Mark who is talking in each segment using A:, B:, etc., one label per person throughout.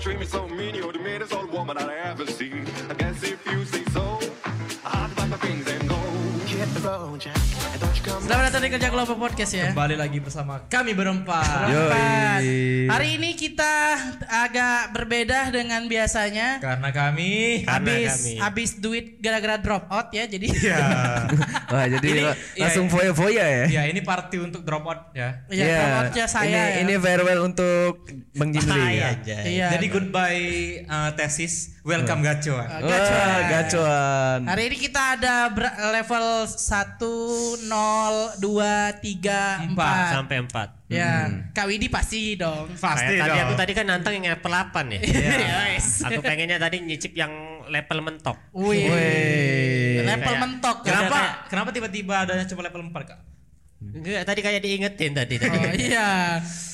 A: treat me so mean. You're the meanest old woman I ever seen. I guess if you say so, I'll pack my things and go.
B: Hit the road, Jack, and don't you come
C: Selamat datang di Kerja Kelompok Podcast ya.
D: Kembali lagi bersama kami berempat.
C: Berempat. Hari ini kita agak berbeda dengan biasanya.
D: Karena kami
C: Habis habis duit gara-gara drop out ya. Jadi
D: ya.
E: Wah jadi
D: Ini-
E: la-
D: iya,
E: langsung
D: iya.
E: foya-foya ya.
D: ya ini party untuk drop out ya.
C: ya
E: Iya.
C: drop outnya saya ya.
E: Ini, ini farewell untuk Bang Jimli.
D: Iya.
C: Iya.
D: Jadi goodbye uh, tesis, welcome gacuan.
C: Oke.
E: Wah,
C: Gacuan.
E: gacuan.
C: Hari ini kita ada ber- level 1 0 2 3
D: Empat.
C: 4.
F: sampai 4.
C: Ya, Kak Widi pasti dong.
D: Pasti
F: Kayak tadi
D: dong.
F: aku tadi kan nantang yang level 8
C: Iya.
F: ya.
C: Yes.
F: aku pengennya tadi nyicip yang level mentok.
C: Wih.
E: Wih.
C: Level
F: Kayak-
C: mentok. Oh,
D: Kenapa?
C: Udah kayak-
D: Kenapa tiba-tiba adanya cuma level 4, Kak?
F: Enggak, tadi kayak diingetin tadi. tadi.
C: Oh iya.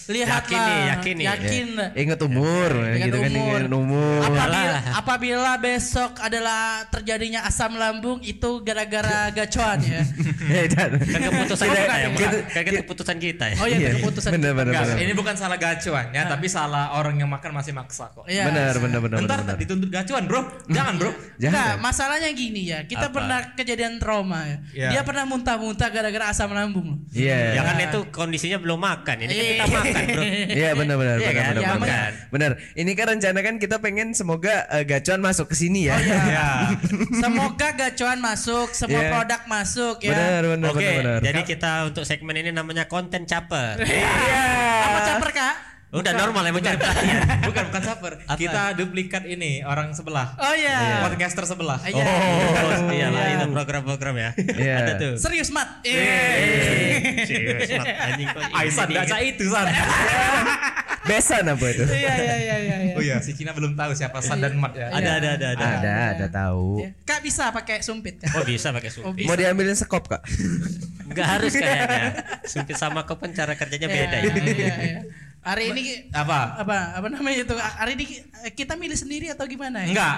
C: Lihatlah.
F: Yakin nih, yakin nih.
C: Yakin.
E: Ingat umur,
C: Ingat
E: gitu kan
C: umur.
E: ingat umur.
C: Apabila,
F: Yalah.
C: apabila besok adalah terjadinya asam lambung itu gara-gara gacuan ya.
E: Ya, dan-
F: Kan keputusan kita, ya, Mas.
E: kita-
F: Kan keputusan kita ya.
C: Oh iya,
E: Iya,
C: itu keputusan.
E: bener, bener,
D: Enggak,
E: bener.
D: ini bukan salah gacuan ya, tapi salah orang yang makan masih maksa
C: Ah.
D: kok.
C: Iya.
E: Benar, benar, benar,
D: Ntar
E: benar, benar.
D: dituntut gacuan, Bro. Jangan, Bro.
C: Enggak,
E: Jangan.
C: masalahnya gini ya. Kita
F: Apa?
C: pernah kejadian trauma ya.
D: Iya.
C: Dia pernah muntah-muntah gara-gara asam lambung. loh.
E: Iya.
F: Ya kan itu kondisinya belum makan. Ini kan
C: Iya.
F: kita makan, Bro.
E: Iya benar benar benar
F: Iya kan?
E: benar
C: Iya,
E: benar.
F: kan?
E: Benar. Ini kan rencana kan kita pengen semoga eh, gacuan masuk ke sini ya.
D: Ya.
C: Semoga gacuan masuk, semua
E: Iya.
C: produk masuk ya.
E: Benar benar
F: Oke,
E: benar benar.
F: jadi kita untuk segmen ini namanya konten caper.
C: Iya. Apa caper Kak?
F: Udah normal ya, emang cari perhatian.
D: bukan bukan saper. Kita duplikat ini orang sebelah.
C: Oh iya.
D: Podcaster sebelah.
C: Iya.
F: Oh, iyalah itu program-program ya.
E: Iya.
F: Ada tuh.
C: Serius Mat. Eh. Iya.
F: Serius, Mat. Anjing kok ini
D: Oh, Aisan
F: diinget.
D: baca itu San.
E: Besan apa itu?
C: Iya iya iya iya. iya.
D: Oh iya, si Cina belum tahu siapa San dan Mat ya.
F: Ada ada ada ada.
E: Ada ada tahu.
C: Ya. Kak bisa pakai sumpit Kak.
F: Oh bisa pakai sumpit.
E: Mau diambilin sekop kak?
F: Enggak harus kayaknya. Sumpit sama kau kan cara kerjanya beda ya.
C: Iya, iya, iya. Hari ini
D: Apa?
C: apa apa namanya itu hari ini eh, kita milih sendiri atau gimana ya?
D: Enggak.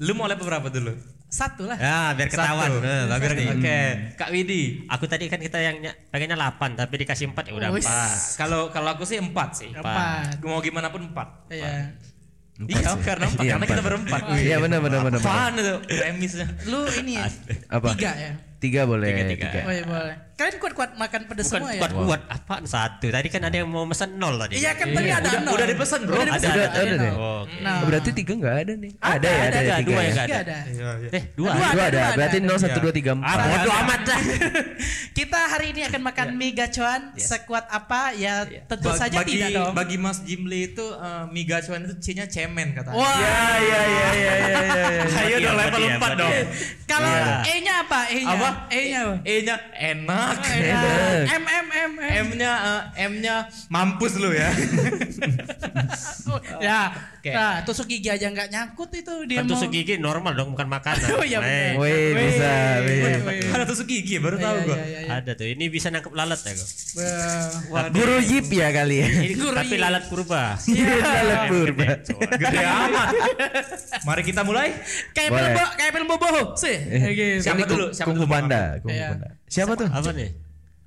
D: Lu mau level berapa dulu?
C: Satu lah.
F: Ya, biar ketahuan.
D: Satu.
E: Eh,
F: Nah, bagus
D: Oke,
F: nih.
E: Hmm.
D: Kak Widi.
F: Aku tadi kan kita yang ny- pengennya 8 tapi dikasih 4 ya udah
C: Wis.
F: 4.
D: Kalau kalau aku sih empat sih.
C: Empat.
D: Mau gimana pun empat.
C: Iya.
D: Iya, karena empat,
E: Iya,
D: karena kita
E: empat.
D: berempat.
E: Iya benar benar benar. benar.
D: Apaan itu premisnya?
C: Lu ini ya.
E: Apa?
C: Tiga ya.
E: Tiga boleh.
F: Tiga, tiga.
C: Oh iya boleh. Kalian kuat-kuat makan pedas
F: Bukan
C: semua ya?
F: kuat-kuat apa satu. Tadi kan ada yang mau pesan 0 tadi. Oh,
C: Iya kan tadi ada
D: Udah-
C: nol.
D: udah dipesan, bro.
C: Udah dipesan.
E: Ada- ada deh.
C: nol.
F: Oke.
C: Nah.
E: Oh, Berarti tiga nggak ada nih? Ada, ya ada,
F: ada,
E: ya, tiga
F: dua
E: ya.
F: yang
C: Tiga ada.
F: Eh, dua.
C: Dua.
E: Dua ada.
C: ada,
E: Berarti
C: ada.
E: nol satu dua tiga
F: Ah,
E: empat. Ya,
F: bodoh amat dah.
C: Kita hari ini akan makan mie gacuan sekuat apa ya tentu
D: Ba-
C: saja
D: Iya. bagi,
C: tidak dong.
D: Bagi Mas Jimli itu eh, mie gacuan itu C-nya cemen katanya.
C: Wah.
E: Iya iya iya iya iya.
F: Ayo dong level 4 dong.
C: Kalau E-nya apa? E-nya.
D: Apa?
C: E-nya apa?
D: E-nya enak.
C: Ah,
E: Enak.
C: M M M M.
D: M-nya eh, M-nya mampus lu ya.
C: Oh, Ya.
D: Oke.
C: Nah, tusuk gigi aja nggak nyangkut itu dia
F: Kan
C: mau.
F: tusuk gigi normal dong bukan makanan.
C: Oh, iya,
F: Eh,
C: benar.
E: Wih bisa. wih.
D: Ada tusuk gigi baru tahu
C: Iya,
D: gua.
C: iya, iya, iya.
F: Ada tuh. Ini bisa nangkep lalat ya kok.
E: Guru Yip ya kali ya.
F: Ini
C: Gurih.
F: tapi lalat purba.
E: Iya. Lalat
F: Gede,
E: purba.
F: coba.
D: Gede amat. Mari kita mulai.
C: Kayak
E: Boleh.
C: film bo- kayak film boboho sih. Kayak gitu.
D: Siapa
E: Ini
D: dulu? Siapa
E: Kungfu
D: dulu?
E: Panda. Kungfu
C: Iya.
E: Panda. Siapa tuh?
F: Apa nih?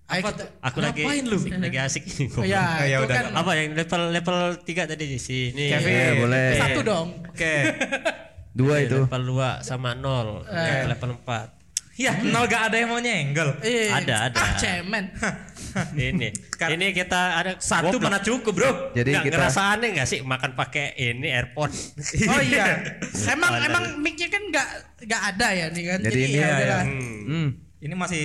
C: Ayo
D: Apa
C: kita-
D: tuh?
F: Aku lagi
D: Ngapain lu?
F: lagi asik nih.
C: Oh, Ya,
D: Ah, ya
C: itu
D: udah,
C: kan
F: Apa yang level level 3 tadi di sini.
D: Kevin.
E: Iya boleh.
C: satu dong.
D: Oke.
E: Dua
F: Iya,
E: itu. Eh.
F: Level 2 sama 0. Level 4.
D: Ya, nol gak ada yang mau nyenggol.
C: Eh,
F: Ada, ada.
C: Ah, cemen.
F: Ini.
D: Kar-
F: ini kita ada
D: Satu mana cukup, Bro?
E: Jadi
F: Jadi Nggak,
E: kita-
F: ngerasa aneh gak sih makan pakai ini airport?
C: Oh iya. emang emang mic-nya kan nggak nggak ada ya nih kan.
E: Jadi ini
C: ya
E: ya,
C: udahlah.
E: Hmm.
D: Ini masih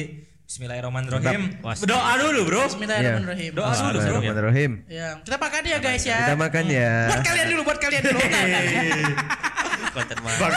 D: Bismillahirrahmanirrahim.
F: Tetap.
D: Doa dulu, Bro.
C: Bismillahirrahmanirrahim.
D: Doa dulu, Bro.
E: Bismillahirrahmanirrahim.
C: Ya, kita makan ya guys ya.
E: Kita makan ya.
C: Buat kalian dulu, buat kalian dulu. Bentar, bentar.
F: Konten mana?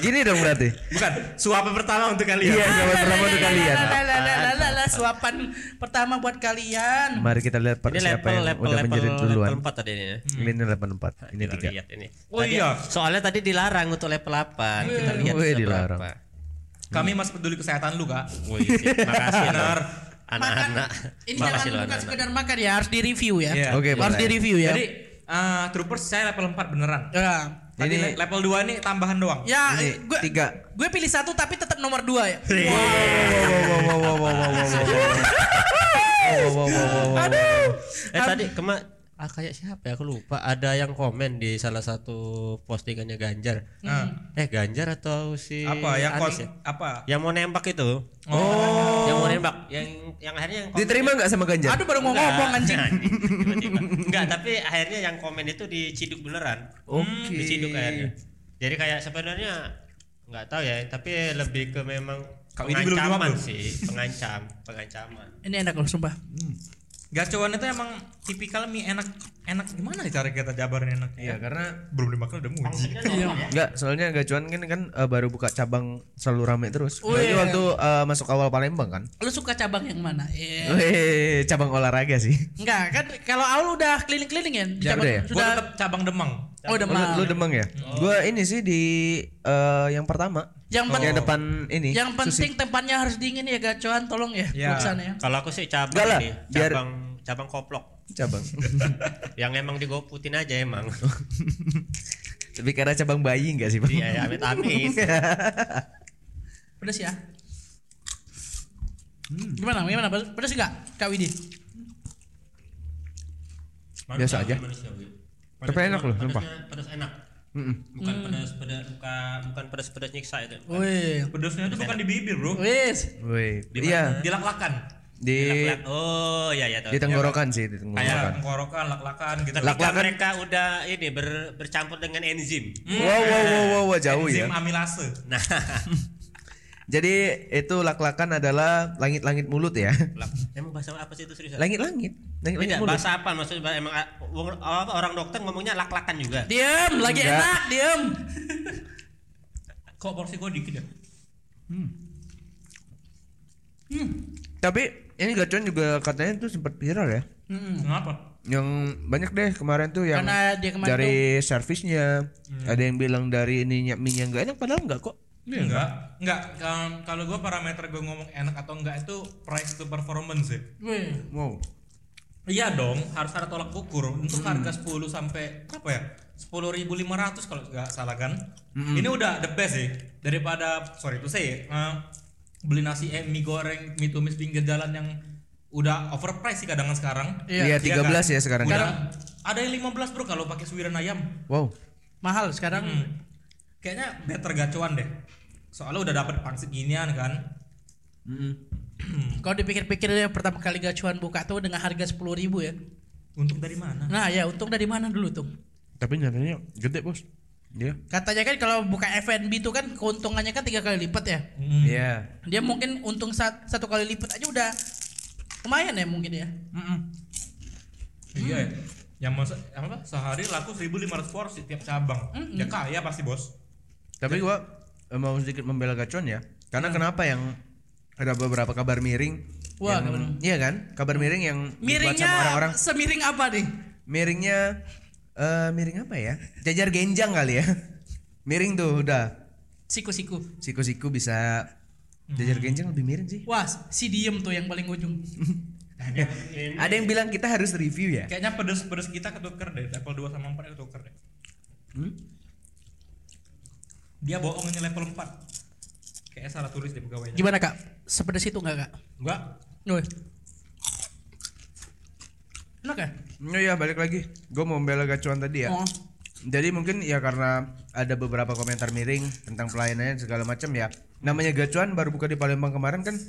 E: Gini dong berarti.
D: Bukan, suapan pertama untuk kalian.
E: Iya, selamat selamat untuk kalian.
C: Lalalalalalala, Suapan pertama buat kalian.
E: Mari kita lihat per
F: Ini
E: siapa
F: level
E: yang
F: level
E: udah
F: level
E: menjerit duluan.
F: level 4 tadi ini. ya.
E: Ini level 4, ini
F: Kita
E: 3.
F: lihat ini.
D: Oh
F: Tadi-
D: iya.
F: Soalnya tadi dilarang untuk level 8. Kita lihat
E: Wih,
F: sudah
E: dilarang.
F: berapa.
D: Kami masih peduli kesehatan lu, Kak.
F: Wih, makasih
D: Benar.
F: loh. anak-anak.
C: Ini
F: Makasih loh
C: jangan bukan
F: anak-anak.
C: sekedar makan ya, harus direview ya.
D: Iya.
E: Oke,
C: harus
E: boleh.
C: direview ya.
D: Jadi, eh, troopers saya level 4 beneran.
C: ya.
D: Tadi
E: Ini-
D: le- level 2 nih tambahan doang.
C: Ya,
E: Ini
C: gue
E: tiga. Iya.
C: gue pilih satu tapi tetap nomor dua ya.
E: Wow, wow, wow, wow, wow, wow, wow, wow, wow, wow, wow, wow, wow, wow, wow, wow, wow.
C: Aduh.
F: Eh tadi kema ah kayak siapa ya aku lupa ada yang komen di salah satu postingannya Ganjar eh Ganjar atau si
D: Nah, Apa yang
F: Anies
D: kon-
F: ya?
D: apa?
F: yang mau nembak itu
D: Oh.
F: yang mau nembak yang yang akhirnya yang komen-
E: Diterima nggak sama Ganjar?
C: Aduh baru mau
F: Enggak,
C: ngomong anjing.
F: anjing, tiba-tiba. Enggak, tapi akhirnya yang komen itu diciduk beneran.
E: Oke.
F: Hmm, Diciduk akhirnya. Jadi kayak sebenarnya nggak tahu ya, tapi lebih ke memang
D: Kau ini belum
F: pengancaman
D: jawab, bro.
F: sih, pengancam, pengancaman.
C: Ini enak loh sumpah.
D: Gacoan itu emang tipikal mie enak enak gimana ya cara kita jabarin enak? Ya.
E: Iya, karena
D: belum dimakan udah muji.
E: Enggak, soalnya Gacuan kan kan eh, baru buka cabang selalu rame terus.
C: Oh,
E: Ini
C: iya.
E: waktu eh, masuk awal Palembang kan.
C: Lu suka cabang yang mana? Eh,
E: Weh, cabang olahraga sih.
C: Enggak kan kalau Aul udah keliling-keliling ya? di
E: Ya,
C: cabang-
E: udah ya?
D: Gua
C: Sudah
D: tetap cabang Demang.
C: Oh,
E: Lu,
C: Demang.
E: lu Demang ya? Gua ini sih di eh, yang pertama.
C: Yang pen-
E: Yang depan ini.
C: yang penting tempatnya harus dingin ya gacoan tolong ya.
E: Iya.
D: Ya.
C: Lukisannya ya.
F: Kalau aku sih
E: Enggak lah,
F: cabang ini,
E: biar-
F: cabang cabang koplok.
E: Susi. cabang.
F: yang emang digoputin aja emang.
E: Tapi karena cabang bayi enggak sih, Bang?
F: Iya, ya, amit-amit.
C: Pedas ya.
E: Hmm.
C: Gimana? Gimana? Pedas enggak? Kak Widi.
E: Biasa aja. Tapi enak loh, sumpah.
F: Pedas enak.
E: Mm-mm.
F: Bukan pedas pedas bukan bukan pedas pedas nyiksa itu.
C: Wih.
D: Pedasnya itu bukan di bibir, Bro.
C: Wis.
E: Weh,
F: Di
E: Iya,
D: Dilaklakan.
E: di
F: Lak-lak. Oh, iya iya tahu.
E: di tenggorokan sih, di
D: Kayak
E: tenggorokan.
D: tenggorokan, laklakan gitu.
F: Ketika
E: Lak-lakan.
F: mereka udah ini ber- bercampur dengan enzim.
E: Wow, wow, wow, wow, wow, jauh ya.
D: Enzim amilase.
F: Nah,
E: Jadi itu lak-lakan adalah langit-langit mulut ya.
F: lak- emang bahasa apa sih itu
C: Ya.
F: serius?
E: Langit-langit, langit-langit
C: Iya,
F: Beda,
E: mulut.
F: bahasa apa maksudnya bah- emang a- wong- apa, orang dokter ngomongnya lak-lakan juga.
C: Diam, lagi
E: Enggak.
C: enak, diam.
D: Kok porsi gua dikit ya?
E: Tapi ini gacuan juga katanya tuh sempat viral ya.
C: Mm-mm.
D: Kenapa?
E: Yang banyak deh kemarin tuh yang
C: Karena dia kemarin Hmm.
E: dari servisnya. Ada yang bilang dari ininya minyak enggak enak padahal enggak kok.
D: Enggak,
E: kan?
D: enggak. Kalau- Kalau gue parameter gue ngomong enak atau enggak itu price to performance ya.
C: Wih.
E: Wow.
D: Iya dong, harus ada tolak ukur. Untuk
E: Hmm.
D: harga 10 sampai berapa ya? 10.500 kalau nggak salah kan.
E: Hmm.
D: Ini udah the best sih daripada sorry itu saya eh, beli nasi eh, mie goreng mie tumis pinggir jalan yang udah overpriced sih kadang sekarang.
E: Iya, 13 ya sekarang.
D: Udah- ada yang 15 bro kalau pakai suiran ayam.
E: Wow.
C: Mahal sekarang.
D: Hmm. Kayaknya better gacuan deh. Soalnya udah dapat pangsit ginian kan.
C: Kalau dipikir-pikir ya, pertama kali gacuan buka tuh dengan harga 10.000 ya.
D: Untuk dari mana?
C: Nah, ya untung dari mana dulu tuh?
E: Tapi nyatanya gede, Bos. Iya.
C: Katanya kan kalau buka F&B itu kan keuntungannya kan tiga kali lipat ya.
D: Hmm.
E: Iya.
C: Dia mungkin untung sa- satu kali lipat aja udah lumayan ya mungkin ya.
D: Iya. ya. Yang masa apa? Sehari laku 1.500 porsi tiap cabang. Ya kaya pasti, Bos.
E: Tapi gua eh, mau sedikit membela gacuan
C: Iya.
E: ya. Karena kenapa yang ada beberapa kabar miring
C: Wah,
E: yang-
C: kabar- Hmm.
E: iya kan? Kabar miring yang dibuat
C: Miringnya
E: sama orang-orang
C: semiring apa nih?
E: miringnya eh miring apa ya? Jajar genjang kali ya. miring tuh udah.
C: Siku-siku.
E: Siku-siku bisa jajar genjang lebih miring sih.
C: Wah, si diem tuh yang paling ujung.
E: Ada yang bilang kita harus review ya.
D: Kayaknya pedes-pedes kita ketuker deh. Level 2 sama 4 ketuker deh.
E: Hmm?
D: Dia bohong ini level 4. Kayaknya salah tulis deh pegawainya.
C: Gimana kak? Sepedes itu nggak kak?
D: Enggak.
C: Woi. Enak ya?
E: Oh iya balik lagi. Gue mau membela gacuan tadi ya.
C: Oh.
E: Jadi mungkin ya karena ada beberapa komentar miring tentang pelayanannya segala macam ya. Namanya gacuan baru buka di Palembang kemarin kan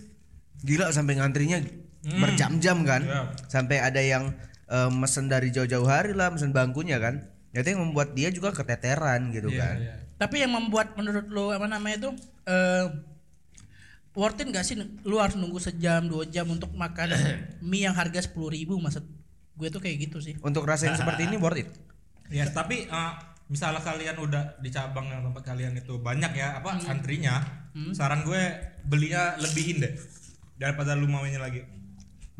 E: gila sampai ngantrinya
C: Hmm.
E: berjam-jam kan.
C: Ya.
D: Iya.
E: Sampai ada yang eh, mesen dari jauh-jauh hari lah mesen bangkunya kan. Jadi yang membuat dia juga keteteran gitu kan.
D: Iya.
C: Tapi yang membuat menurut lo apa namanya itu eh worth it gak sih lu harus nunggu sejam dua jam untuk makan mie yang harga sepuluh ribu maksud gue tuh kayak gitu sih.
E: Untuk rasa yang seperti ini worth it.
D: Ya, tapi eh, misalnya kalian udah di cabang yang tempat kalian itu banyak ya apa antrinya, saran gue belinya lebihin deh daripada lu maunya lagi.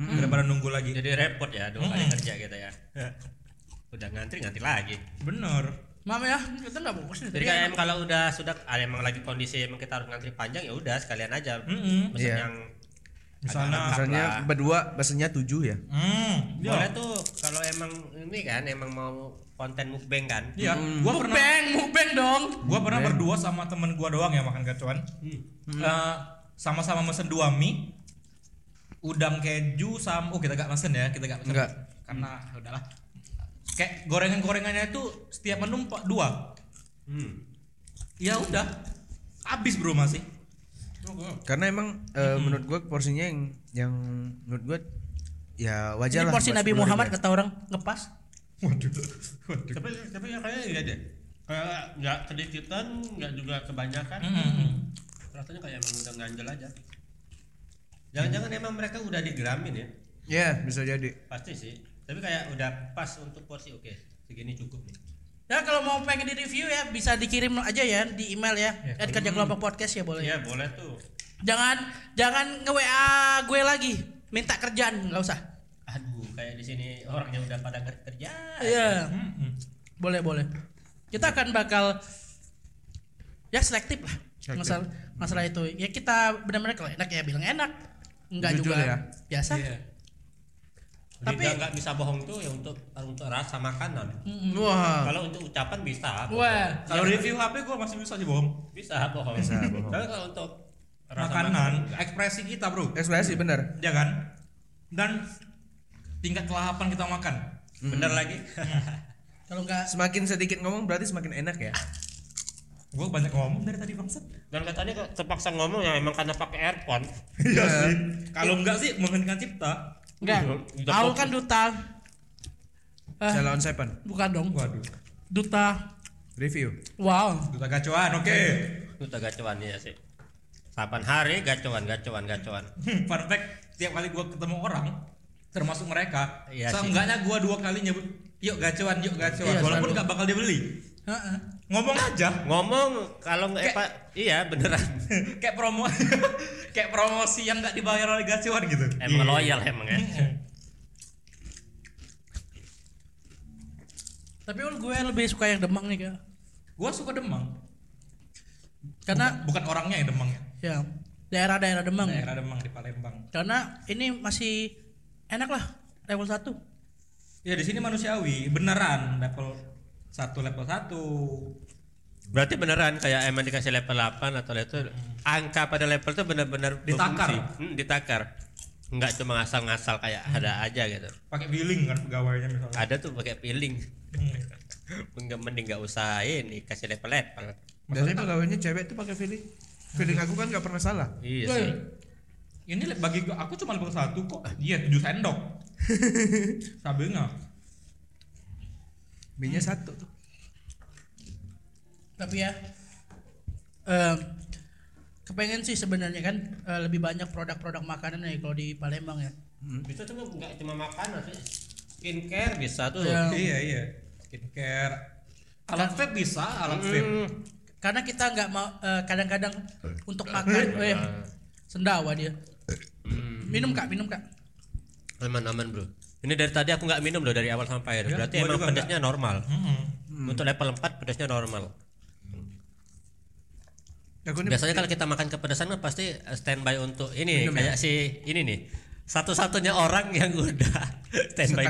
D: Daripada nunggu lagi.
F: Jadi repot ya dua kali kerja gitu ya. udah ngantri ngantri lagi.
D: Bener.
C: Mama ya, itu nggak bagus nih.
F: Jadi
C: Tapi
F: kayak emang kalau udah sudah ada emang lagi kondisi emang kita harus ngantri panjang ya udah sekalian aja.
D: Mm-mm.
F: Mesen
E: Iya.
F: yang
D: Hmm.
C: Nah,
D: Misalnya
E: Misalnya berdua pesennya tujuh ya.
D: Hmm, iya.
F: boleh tuh kalau emang ini kan emang mau konten mukbang kan.
D: Iya, gua pernah
C: mukbang, mukbang dong.
D: gua pernah berdua sama temen gua doang ya makan gacuan. Eh, sama-sama mesen dua mie udang keju sama oh kita gak mesen ya kita gak mesen
E: Nggak.
D: karena udahlah kayak gorengan-gorengannya itu setiap menu empat- dua
F: Hmm.
D: ya udah habis bro masih
E: Karena emang eh,
C: Hmm.
E: menurut gua porsinya yang yang menurut gua ya
C: Jadi
E: wajar lah.
C: porsi
E: buat ya.
C: Nabi
E: 10.000.
C: Muhammad kata orang ngepas.
D: waduh waduh
F: tapi tapi ya kayaknya iya deh kayak nggak sedikitan nggak juga kebanyakan rasanya kayak emang udah ganjel aja jangan-jangan emang mereka udah digeramin ya
E: Ya, bisa jadi.
F: pasti sih tapi kayak udah pas untuk porsi oke segini cukup nih
C: Ya kalau mau pengen di review ya bisa dikirim aja ya di email ya. At kerja kelompok podcast ya boleh.
F: iya boleh tuh
C: Jangan jangan nge WA gue lagi. Minta kerjaan nggak usah.
F: aduh kayak di sini orangnya udah pada ker- kerja
C: Iya. Boleh boleh. Kita akan bakal ya selektif lah masalah masalah itu. Ya kita benar-benar kalau enak ya bilang enak. Enggak
E: Jujur
C: juga
E: ya.
C: biasa.
F: tapi
C: Tapi-
F: nggak bisa bohong tuh ya untuk untuk rasa makanan
C: Mm-mm.
E: Wah.
F: kalau untuk ucapan bisa
C: Iya. Wah.
D: kalau review HP gua masih bisa sih bohong
F: bisa bohong
E: Bisa bohong.
F: tapi kalau untuk rasa
D: makanan ekspresi kita bro
E: Ekspresi bener.
D: ya kan dan tingkat kelahapan kita makan
F: bener lagi
C: Kalau enggak
E: Semakin sedikit ngomong berarti semakin enak ya.
D: gua banyak ngomong dari tadi bangsat
F: dan katanya kok terpaksa ngomong ya emang karena pakai earphone
D: iya sih kalau enggak sih menghentikan cipta
C: enggak.
F: Udah
C: Aul
F: fokus.
C: kan duta.
F: Ah.
C: Eh,
E: Jalan Seven.
C: bukan dong.
D: waduh
C: Duta.
E: Review.
C: Wow.
D: duta gacoan oke
F: itu udah gacuan ya sih Saban hari gacuan gacuan gacuan
D: Hmm, fun fact tiap kali gua ketemu orang termasuk mereka
F: Iya sih.
D: seenggaknya gua dua kali nyebut yuk gacuan yuk gacuan
C: Iya,
D: walaupun
C: selalu.
D: nggak bakal dibeli
C: Heeh.
D: ngomong aja
F: ngomong kalau nggak
D: Kayak-
F: Pak, iya beneran
D: kayak promo kayak promosi yang nggak dibayar oleh gacuan gitu Hmm.
F: emang loyal emang ya
C: Tapi Ul, gue lebih suka yang Demang nih kak.
D: gua suka demang
C: Karena
D: bukan orangnya yang demang ya
C: ya daerah-daerah Demang.
D: daerah demang di Palembang
C: Karena ini masih enak lah level 1
D: ya di sini manusiawi beneran level satu level satu
F: berarti beneran kayak emang dikasih level 8 atau itu angka pada level itu bener-bener
D: Ditakar.
F: berfungsi. Hmm, ditakar nggak cuma ngasal-ngasal kayak ada aja gitu
D: pakai billing kan pegawainya misalnya
F: ada tuh pakai feeling
D: Hmm.
F: Nggak- mending nggak usah ini kasih level level
E: Biasanya pegawainya cewek tuh pakai feeling. Feeling aku kan gak pernah salah.
F: iya
D: Weh,
F: sih
D: ini le- bagi gua- aku cuma level satu kok dia tujuh sendok sabenya
E: B-nya satu tuh.
C: Tapi ya eh, kepengen sih sebenarnya kan eh, lebih banyak produk-produk makanan ya kalau di Palembang ya.
F: bisa cuma nggak cuma makanan sih skincare bisa tuh
C: Ya.
D: iya iya skincare Kan- Hmm. alat vape bisa alat vape
C: Karena kita nggak mau eh, kadang-kadang untuk makan eh, sendawa dia. Minum Kak, minum Kak.
F: aman aman bro ini dari tadi aku nggak minum loh dari awal sampai akhir
D: Ya,
F: berarti
D: gua
F: emang
D: juga
F: pedasnya normal Mm.
D: Mm-mm.
F: untuk level 4 pedasnya normal
D: Ya,
E: Aku ini
F: biasanya kalau kita makan kepedasan kan pasti eh, standby untuk ini
E: Minum
D: ya?
F: kayak si ini nih satu-satunya orang yang udah standby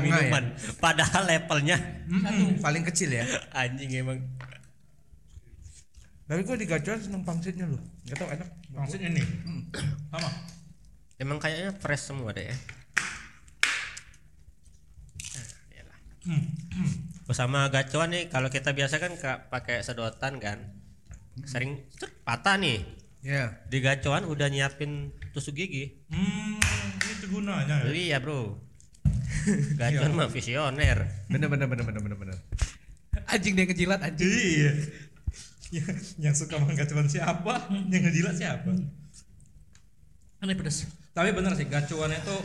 D: ya?
E: Setengah
F: minuman padahal levelnya
E: paling kecil ya.
F: anjing emang
E: Tapi gua di gacuan seneng pangsitnya loh. Gak tau enak.
D: Maksud ini sama
F: emang kayaknya fresh semua deh ya.
D: Hmm.
F: bersama gacuan nih kalau kita biasa kan ka- pakai sedotan kan sering cet, patah nih
E: Ya.
F: di gacuan udah nyiapin tusuk gigi
D: Hmm, itu gunanya ya.
F: Iya bro
E: Iya.
F: Gacor mah visioner
E: Bener bener bener bener bener bener.
C: Anjing dia ngejilat anjing.
D: Iya. yang, yang suka makan gacuan siapa? Yang ngejilat siapa?
C: Ini pedes.
D: Tapi bener sih gacuannya itu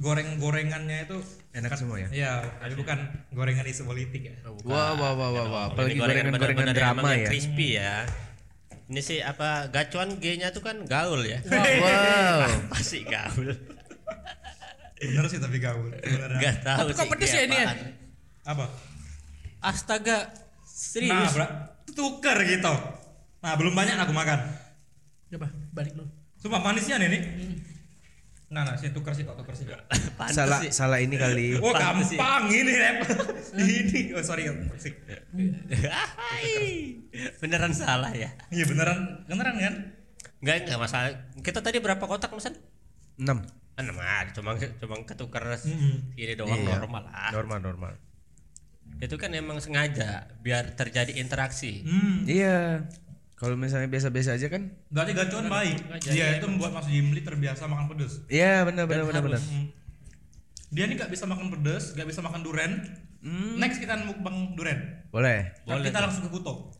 D: goreng-gorengannya itu
E: Enak semua ya?
D: Iya, tapi bukan gorengan isu politik ya.
E: Wah wah wah wah wah. Apalagi
F: Ini gorengan
E: gorengan-gorengan
F: bener-bener
E: drama
F: emang yang
E: ya.
F: crispy ya Ini sih apa Gacuan G-nya tuh kan gaul ya
E: Wow.
F: Apa sih gaul
D: Bener sih tapi gaul. Bener
E: Nah.
D: ya.
F: Gak tahu sih
C: Kok pedes ya ini ya?
F: apaan.
D: Apa?
F: Astaga
D: Nah,
F: Serius
D: bra, tuker gitu. Nah, belum banyak aku makan.
C: Coba balik dulu.
D: Sumpah manisnya nih nih. Nah, nah, sih tuker sih kok tuker sih.
F: Pantes
E: Salah
F: sih.
E: salah ini kali.
D: Oh,
F: Pantes sih.
D: gampang ini, Rep. ini. Oh, sorry. toxic.
F: Hai. Beneran salah ya
D: Iya, beneran. Beneran kan?
F: Enggak enggak masalah Kita tadi berapa kotak pesan?
E: 6.
F: Enam ah, cuma cuma ketukar
D: Mm-mm.
F: ini doang
E: Iya.
F: normal lah.
E: Normal normal.
F: itu kan emang sengaja biar terjadi interaksi
D: Hmm.
E: Iya. Kalau misalnya biasa-biasa aja kan?
D: Berarti gacuan baik. Dia itu membuat Mas Jimli terbiasa makan pedes.
E: Iya, benar benar benar benar.
D: Hmm. Dia ini gak bisa makan pedes, gak bisa makan duren. Next kita mukbang duren.
E: Boleh.
D: Tapi kita langsung ke kuto.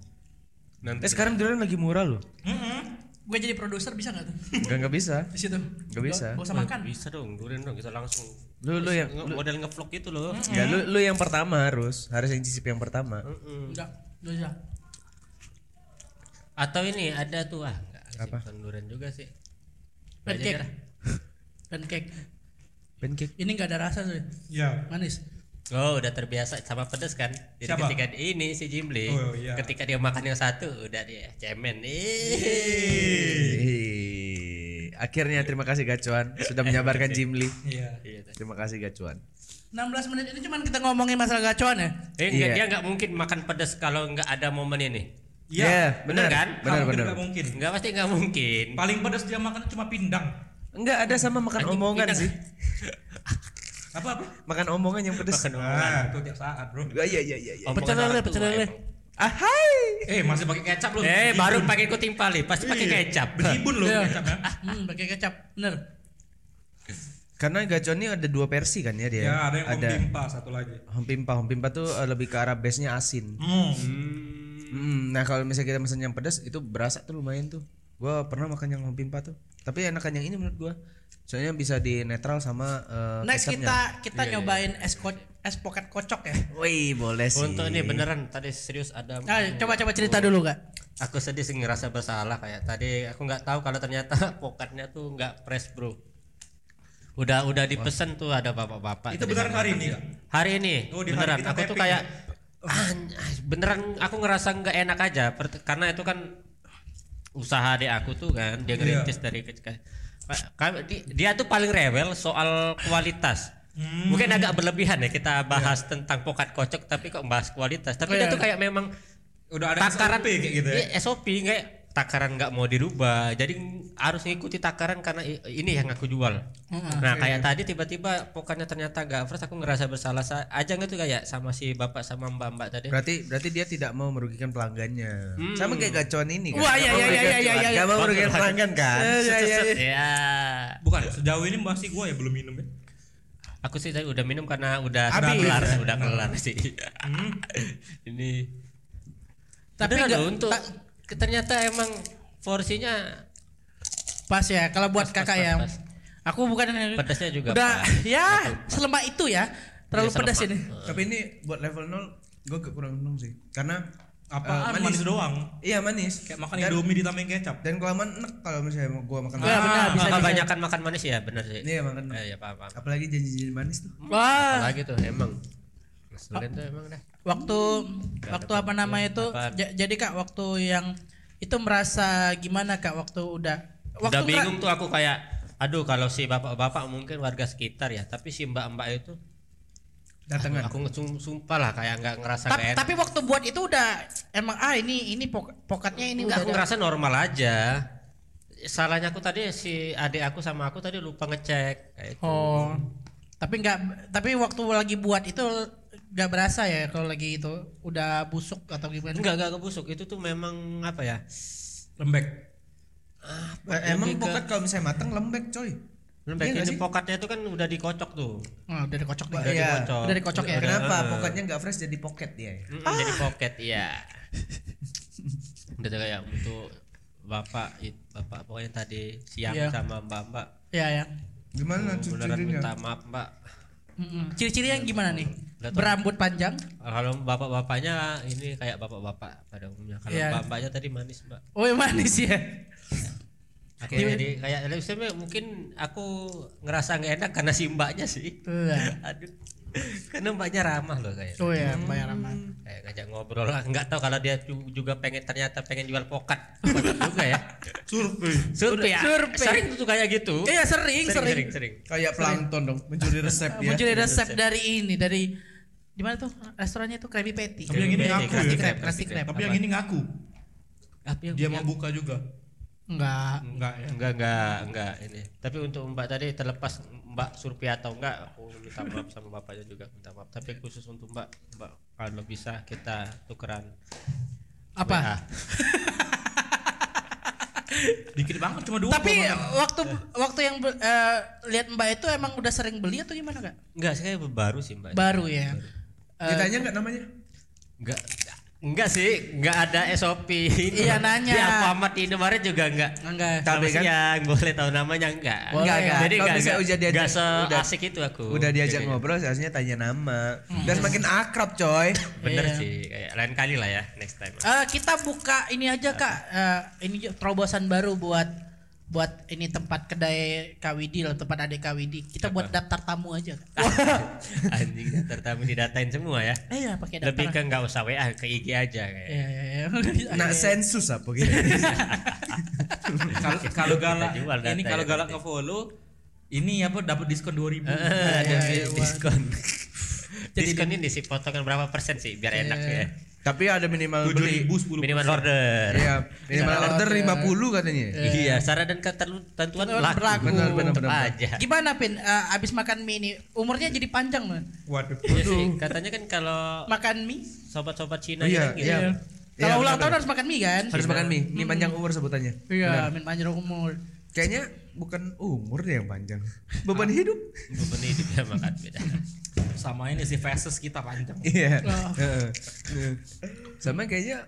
F: nanti
E: Eh sekarang durian lagi murah loh.
D: Hmm.
C: Gue jadi produser bisa nggak tuh?
E: Enggak enggak bisa.
C: Di situ.
E: Nggak bisa.
C: Gak usah
F: Wah,
C: makan.
F: bisa dong duren dong kita langsung
E: Lu lu Hmm? yang
F: Nge- model ngevlog gitu loh
E: Enggak, lu lu yang pertama harus. Harus yang cicip yang pertama.
C: Enggak, enggak bisa.
F: atau ini ada tuh ah enggak sih,
E: Apa?
F: bukan duren juga sih Aja
C: Pancake.
F: dah.
C: Pancake.
E: Pancake.
C: Ini nggak ada rasa tuh.
D: Ya.
C: Manis.
F: Oh udah terbiasa sama pedes kan Jadi
D: Siapa?
F: ketika ini si Jimli
D: Oh, iya.
F: Ketika dia makan yang satu udah dia cemen
E: Iya. Hei. Akhirnya terima kasih Gacuan sudah menyabarkan Jimli.
D: Iya.
F: Iya, tuh.
E: Terima kasih Gacuan.
C: 16 menit ini cuman kita ngomongin masalah gacuan ya.
F: Eh, enggak,
E: Iya.
F: dia nggak mungkin makan pedas kalau nggak ada momen ini.
D: Iya.
E: Iya, benar.
F: bener kan?
D: Nggak
E: Benar
D: mungkin,
E: benar.
D: nggak mungkin.
F: Enggak pasti nggak mungkin.
D: Paling pedes dia makan cuma pindang.
E: Enggak ada sama makan
F: Anjing,
E: omongan
F: pindah.
E: sih.
D: Apa apa?
E: Makan omongan yang pedes.
D: Nah, itu tiap saat, Bro.
E: Ah, Iya iya iya iya.
F: Omongan
C: Pecel lele,
F: orang tua
C: pecel lele.
F: emang.
E: Ah, hai.
D: Eh, masih pakai kecap lu.
F: Eh, baru pakai kuting pali, pasti pakai kecap.
D: Berhibun lu
C: Iya.
D: ya. kecapnya.
C: Hmm, pakai kecap. Bener.
E: Karena Gacuan ini ada dua versi kan ya dia.
D: Ya, ada yang ada. pimpa satu lagi.
E: Hompimpa, hompimpa tuh eh, lebih ke arah base-nya asin.
D: Hmm.
E: Hmm, nah kalau misalnya kita pesen yang pedas itu berasa tuh lumayan tuh. Gua pernah makan yang hompimpa tuh. Tapi enakan yang ini menurut gua. Soalnya bisa di netral sama
F: Oh,
E: eh,
C: Next
E: kecapnya.
C: kita
F: Iya,
C: kita nyobain es ko- es pocket kocok ya.
E: Wih, boleh sih.
F: Untuk
C: Iya.
F: ini beneran tadi serius ada.
C: Nah, coba coba cerita dulu kak.
F: Aku sedih sih ngerasa bersalah kayak tadi aku nggak tahu kalau ternyata pokatnya tuh nggak fresh bro. Udah udah dipesan tuh ada bapak-bapak.
D: Itu
F: dari
D: beneran
F: sana.
D: hari ini, Kak?
F: Hari ini
D: Oh, di hari
F: beneran.
D: kita ya?
F: Aku tuh
D: tapping.
F: kayak "An- ah, beneran aku ngerasa nggak enak aja per- karena itu kan usaha adik aku tuh kan
D: Iya.
F: dia ngerintis dari kecil Pak, kami- di- dia tuh paling rewel soal kualitas
D: Hmm.
F: mungkin agak berlebihan ya kita bahas
D: Iya.
F: tentang pokat kocok tapi kok bahas kualitas tapi dia
C: Iya.
F: tuh kayak memang
D: Udah ada
F: takaran
D: SOP kayak gitu ya.
F: Iya, SOP kayak takaran nggak mau dirubah jadi harus ngikuti takaran karena i- ini yang aku jual
C: Hmm,
F: nah kayak tadi tiba-tiba pokannya ternyata nggak fresh aku ngerasa bersalah sa- aja nggak tuh kayak sama si bapak sama mbak mbak tadi
E: Berarti berarti dia tidak mau merugikan pelanggannya. Sama kayak gacuan ini kan.
C: Wah, iya, iya, iya, iya, iya,
E: Gak mau merugikan pelanggan kan?
C: Eh,
F: Set, set, set.
E: Set, set, set.
F: ya
D: Bukan, sejauh ini masih gua ya belum minum ya.
F: aku sih tadi udah minum karena udah
E: Habis.
F: kelar udah kelar sih ini
C: Hmm. Tapi
F: Beneran
C: nggak-
F: loh, untuk Iya,
C: ta-
F: ternyata emang porsinya
C: Pas ya, kalau buat kakak
F: pas,
C: ya.
F: pas.
C: Aku bukan
F: Pedasnya juga
C: Udah
F: pas.
C: ya selemah itu ya. Terlalu
F: Iya, selemah.
C: pedas ini.
E: Tapi ini buat level 0 gua kekurangan minum sih. Karena
D: Apaan
E: eh,
D: manis doang.
E: Iya, manis.
D: Kayak makan
E: Dan-
D: Indomie ditambahin kecap.
E: dan kelamaan enak kalau misalnya mau gua makan
C: Iya,
E: manis.
C: benar, bisa,
F: Ah,
C: bisa.
F: kebanyakan makan manis ya bener sih
E: Iya, makan.
F: Eh, ya paham, paham.
E: Apalagi janji-janji manis tuh.
C: Wah,
F: apalagi tuh emang ngeselin tuh emang dah
C: waktu waktu apa namanya itu?
F: Apa?
C: ja- jadi kak waktu yang itu merasa gimana kak waktu udah waktu
F: udah
C: nggak-
F: bingung tuh aku kayak aduh kalau si bapak-bapak mungkin warga sekitar ya tapi si mbak-mbak itu
E: Datangan.
F: aku ngesum- sumpah lah kayak nggak ngerasa
C: Ta-
F: nggak enak.
C: tapi waktu buat itu udah emang ah ini ini pok- pokatnya ini
F: Enggak, aku
C: udah
F: ngerasa normal aja. Salahnya aku tadi si adik aku sama aku tadi lupa ngecek. Kayak itu.
C: Oh. Tapi nggak tapi waktu lagi buat itu nggak berasa ya kalau lagi itu udah busuk atau gimana?
F: Enggak, enggak kebusuk. Itu tuh memang apa ya?
C: Iya
D: Lembek.
E: Eh, emang
F: Lebih ke-
E: pokat kalau misalnya matang lembek, coy. Iya
F: Lembek
E: nggak
F: ini
E: sih?
F: pokatnya itu kan udah dikocok tuh.
C: Oh, udah dikocok deh.
E: Iya.
F: dikocok.
C: Udah dikocok ya.
E: Kenapa pokoknya nggak fresh jadi pocket dia? ya?
F: Mm,
C: Ah.
F: Jadi pocket iya. udah tuh kayak untuk bapak it- bapak pokoknya tadi siang
C: Iya.
F: sama mbak-mbak.
C: Iya ya.
E: Gimana
F: Aku Beneran minta maaf, Mbak.
C: Mm-mm. Ciri-cirinya gimana nih?
F: Udah tau.
C: Berambut panjang.
F: Kalau bapak-bapaknya ini kayak bapak-bapak pada umumnya. Kalau
C: Iya.
F: mbak-mbaknya tadi manis, Mbak.
C: Oh, yang manis ya.
F: Oke,
C: Iya.
F: jadi kayak leukemia mungkin aku ngerasa nggak enak karena si mbaknya sih.
C: Tuh, ya.
F: Aduh. Karena mbaknya ramah loh kayak.
C: Oh ya, Mbak Rama.
F: Kayak ngajak ngobrol lah, nggak tahu kalau dia ju- juga pengen ternyata pengen jual pokat. Pokat juga ya. Survei. Survei. Ya.
C: Survei.
F: Sering tuh kayak gitu.
C: Iya, sering, sering.
F: sering, sering.
E: Kayak plankton dong, mencuri resep ya.
C: Muncul resep dari ini, dari di mana tuh restorannya tuh Krabby Patty.
D: Tapi yang ini
F: Krabby
D: ngaku ya.
F: Patty, Krabby
C: Krabby
F: Patty.
C: Krabby.
D: Tapi yang ini ngaku.
F: Apa
C: Iya,
F: yang-
D: Dia mau buka juga.
C: Enggak.
F: Hmm.
D: Enggak ya.
F: Enggak, enggak, enggak ini. Tapi untuk Mbak tadi terlepas Mbak Surpi atau enggak, aku minta maaf sama bapaknya juga minta maaf. Tapi khusus untuk Mbak, Mbak kalau bisa kita tukeran
C: Apa?
D: Dikit banget cuma dua.
C: Tapi
D: Bang.
C: waktu waktu yang be- eh, lihat Mbak itu emang udah sering beli atau gimana kak?
F: enggak sih kayak baru sih mbak
C: Baru ya. Eh,
E: Ditanya nggak namanya?
F: enggak enggak sih enggak ada SOP ini.
C: Iya, nanya.
F: di Alfamart di Indomaret juga enggak
C: enggak.
E: Tapi
F: tapi
E: kan-
F: yang boleh tahu namanya enggak
C: Boleh.
E: Nggak, nggak.
F: jadi
E: Kalau
F: enggak
E: bisa
F: enggak,
E: udah diajak-
F: enggak
E: udah-
F: seasik itu aku
E: Udah diajak
F: Jadi-
E: ngobrol seharusnya tanya nama. Dan makin akrab coy.
F: bener
C: Iya.
F: sih kayak lain kali lah ya next time
C: Eh, kita buka ini aja kak. Eh, ini ju- terobosan baru buat buat ini tempat kedai Kawidi lah tempat adik Kawidi. Kita buat daftar tamu aja. Kak.
E: Ah.
F: anjing tertamu didatain semua ya
C: Eh ya pakai daftar.
F: lebih ke enggak usah WA ke IG aja kayak
C: Iya, iya, iya.
E: Nak sensus apa gitu.
D: Kalau kalau
F: Kita
D: galak
F: jual data
D: ini kalau
F: ya
D: galak ke
F: nanti.
D: follow ini apa dapat diskon 2000.
F: Eh,
E: Iya,
F: ada diskon diskon ini sih potongan berapa persen sih biar enak
C: Iya.
F: ya
E: Tapi ada
D: Eh,
E: minimal beli.
D: 7000 10.
F: minimal order
E: Iya, minimal
C: Iya.
E: order 50 katanya.
F: Iya, syarat dan ketentuan
C: Ketentuan
F: laku.
C: berlaku.
E: Benar, benar,
F: Tetep
E: benar.
F: aja.
C: Gimana Pin? Eh, abis makan mie ini umurnya jadi panjang loh.
D: Waduh.
F: Iya sih, katanya kan kalau
C: Makan mie.
F: sobat-sobat Cina
E: Iya,
F: gitu.
E: iya.
C: Kalau
E: Iya,
C: ulang
E: benar,
C: tahun harus makan mie kan?
E: benar. harus makan mie, mie panjang umur sebutannya.
C: Iya, min panjang umur.
E: Kayaknya bukan umur deh yang panjang. Beban hidup.
F: Beban hidup ya makan beda.
D: Sama ini sih faces kita panjang.
E: Iya.
C: Oh.
E: Heeh. Heeh. Sama kayaknya